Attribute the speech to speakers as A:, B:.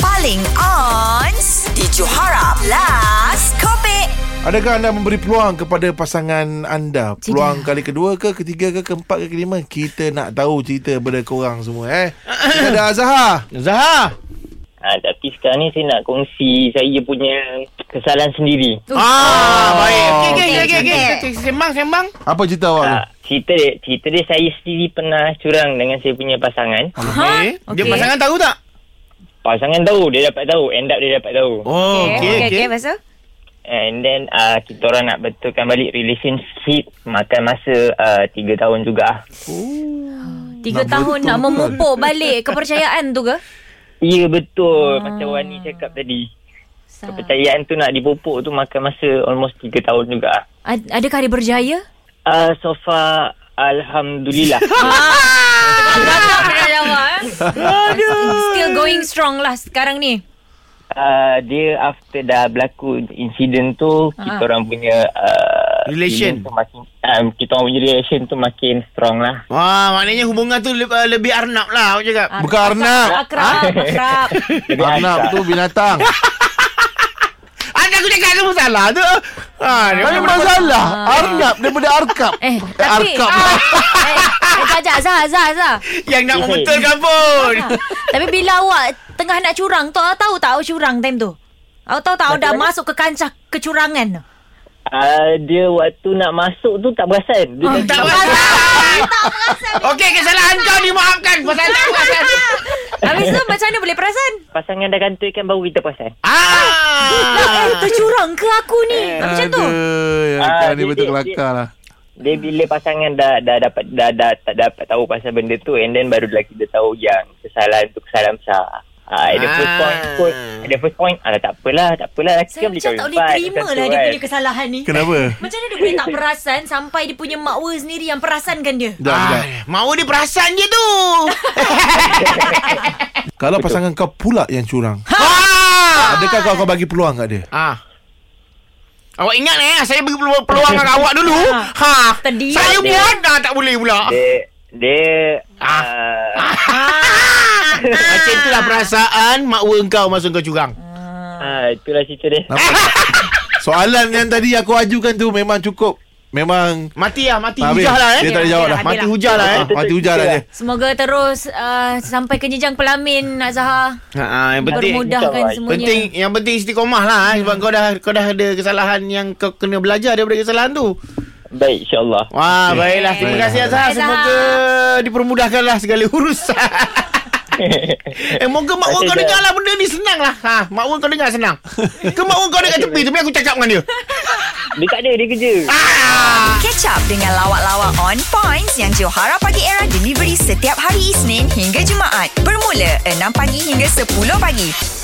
A: paling on di Johara Plus Kopi.
B: Adakah anda memberi peluang kepada pasangan anda? Peluang kali kedua ke, ketiga ke, keempat ke, kelima? Kita nak tahu cerita daripada korang semua eh. Kita ada Azhar.
C: Zahar
D: Ha, tapi sekarang ni saya nak kongsi saya punya kesalahan sendiri.
C: Ah, ah baik Okey okey
A: okey,
C: okey okey
A: okey.
C: Kita Sembang sembang Ah.
B: Apa cerita awak tu?
D: Ha, cerita dia, cerita dia saya sendiri pernah curang dengan saya punya pasangan.
C: Ha? Okey Dia
A: okey.
C: pasangan tahu tak?
D: Pasangan tahu, dia dapat tahu. End up dia dapat tahu.
C: Oh okey okey
A: lepas tu?
D: And then uh, kita orang nak betulkan balik relationship makan masa uh, 3 tahun juga.
B: Nak
A: Tiga tahun nak
B: bertukar.
A: memupuk balik kepercayaan tu ke?
D: Ya betul macam Wani cakap tadi. Kepercayaan tu nak dipupuk tu makan masa almost 3 tahun juga.
A: Ad- Adakah dia berjaya?
D: Uh, so far Alhamdulillah.
A: Kakak pernah jawab eh? Still going strong lah sekarang ni
D: uh, dia after dah berlaku insiden tu ha. kita orang punya uh,
C: Relation.
D: feeling tu makin um, kita orang punya relation tu makin strong lah.
C: Wah Ah, maknanya hubungan tu le- uh, lebih arnab lah Awak cakap
A: Ah,
B: Bukan Arnab. Ah.
A: Akrab Akrab
B: Arnab tu binatang.
C: Anda aku cakap tu salah tu Ah, dia
B: Ada
C: mana masalah
B: masalah.
C: Ah.
B: Arnab daripada Arkab.
A: Eh tapi
B: Arkab.
A: ah, Eh eh, tak Sekejap Zah Zah Zah
C: Yang nak
D: Okey.
C: membetulkan pun
A: Ah, Tapi bila awak Tengah nak curang tu Awak tahu tak awak curang time tu? Awak tahu tak awak dah masuk ke kancah kecurangan?
D: Uh, dia waktu nak masuk tu tak perasan.
A: Oh,
D: Dia
C: Tak
A: lah.
C: masalah Okey kesalahan kau dimaafkan Pasal lah. tak perasan
A: Habis tu macam mana boleh perasan?
D: pasangan dah gantuikan baru kita perasan.
A: Lah eh
C: Ah
A: tercurang ke aku ni? Macam tu
B: Eh, Aduh, ya,
D: Ah,
B: kan ni
D: dia-
B: betul
D: dia-
B: kelakar lah.
D: Dia bila pasangan dah dah dapat dah, dah tak dapat tahu pasal benda tu and then baru lagi dia tahu yang kesalahan tu kesalahan besar. Ah, at the first
C: Ah.
D: point pun, at the first point, alah tak apalah, tak apalah, lelaki
A: Saya
D: kan
A: macam tak boleh
D: kahwin empat,
A: terima
D: macam
A: lah
D: tu
A: Dia
D: kan.
A: punya kesalahan ni
C: Ah.
B: Kenapa?
A: Macam mana dia boleh tak perasan Sampai dia punya makwa sendiri Yang perasankan dia
B: Dah,
C: Ah.
B: dah.
C: Mau dia perasan je tu
B: Kalau pasangan kau pula yang curang,
A: Ha.
C: Ah
B: adakah kau kau bagi peluang kat dia?
C: Ah. Awak ingat eh Saya beri peluang, peluang dengan awak dulu ha.
A: Ah. Terdiam
C: Saya
A: dia.
C: buat dah tak boleh pula
D: Dia dia
C: Ah.
D: ah.
A: Ah.
C: Macam itulah perasaan Makwa engkau masa engkau curang
D: Ah, itulah cerita dia.
B: Nampak? Soalan yang tadi aku ajukan tu memang cukup. Memang
C: Mati lah Mati
B: Habis.
C: hujah lah eh
B: Dia tak ada jawab dah.
C: Mati hujah lah eh
B: Ah, mati hujah lah dia.
A: Semoga terus uh, Sampai ke jenjang pelamin Azhar
C: ha, ha, Yang penting
A: Mempermudahkan
D: Insya-Allah.
A: semuanya
C: Penting Yang penting istiqomah lah eh. Sebab kau dah Kau dah ada kesalahan Yang kau kena belajar Daripada kesalahan tu
D: Baik, insyaAllah.
C: Wah baiklah Terima
B: Baiklah.
C: kasih Azhar
A: Baiklah.
C: Semoga Dipermudahkanlah segala urusan Eh moga mak Wan
D: Saya
C: kau
D: dah-
C: dengar lah Benda ni senang lah ha, Mak Wan kau dengar senang Ke mak Wan kau dekat tepi tu Biar aku cakap dengan dia
D: dia tak ada, dia kerja.
C: ah.
E: Catch up dengan lawak-lawak on points yang Johara Pagi Era delivery setiap hari Isnin hingga Jumaat bermula 6 pagi hingga 10 pagi.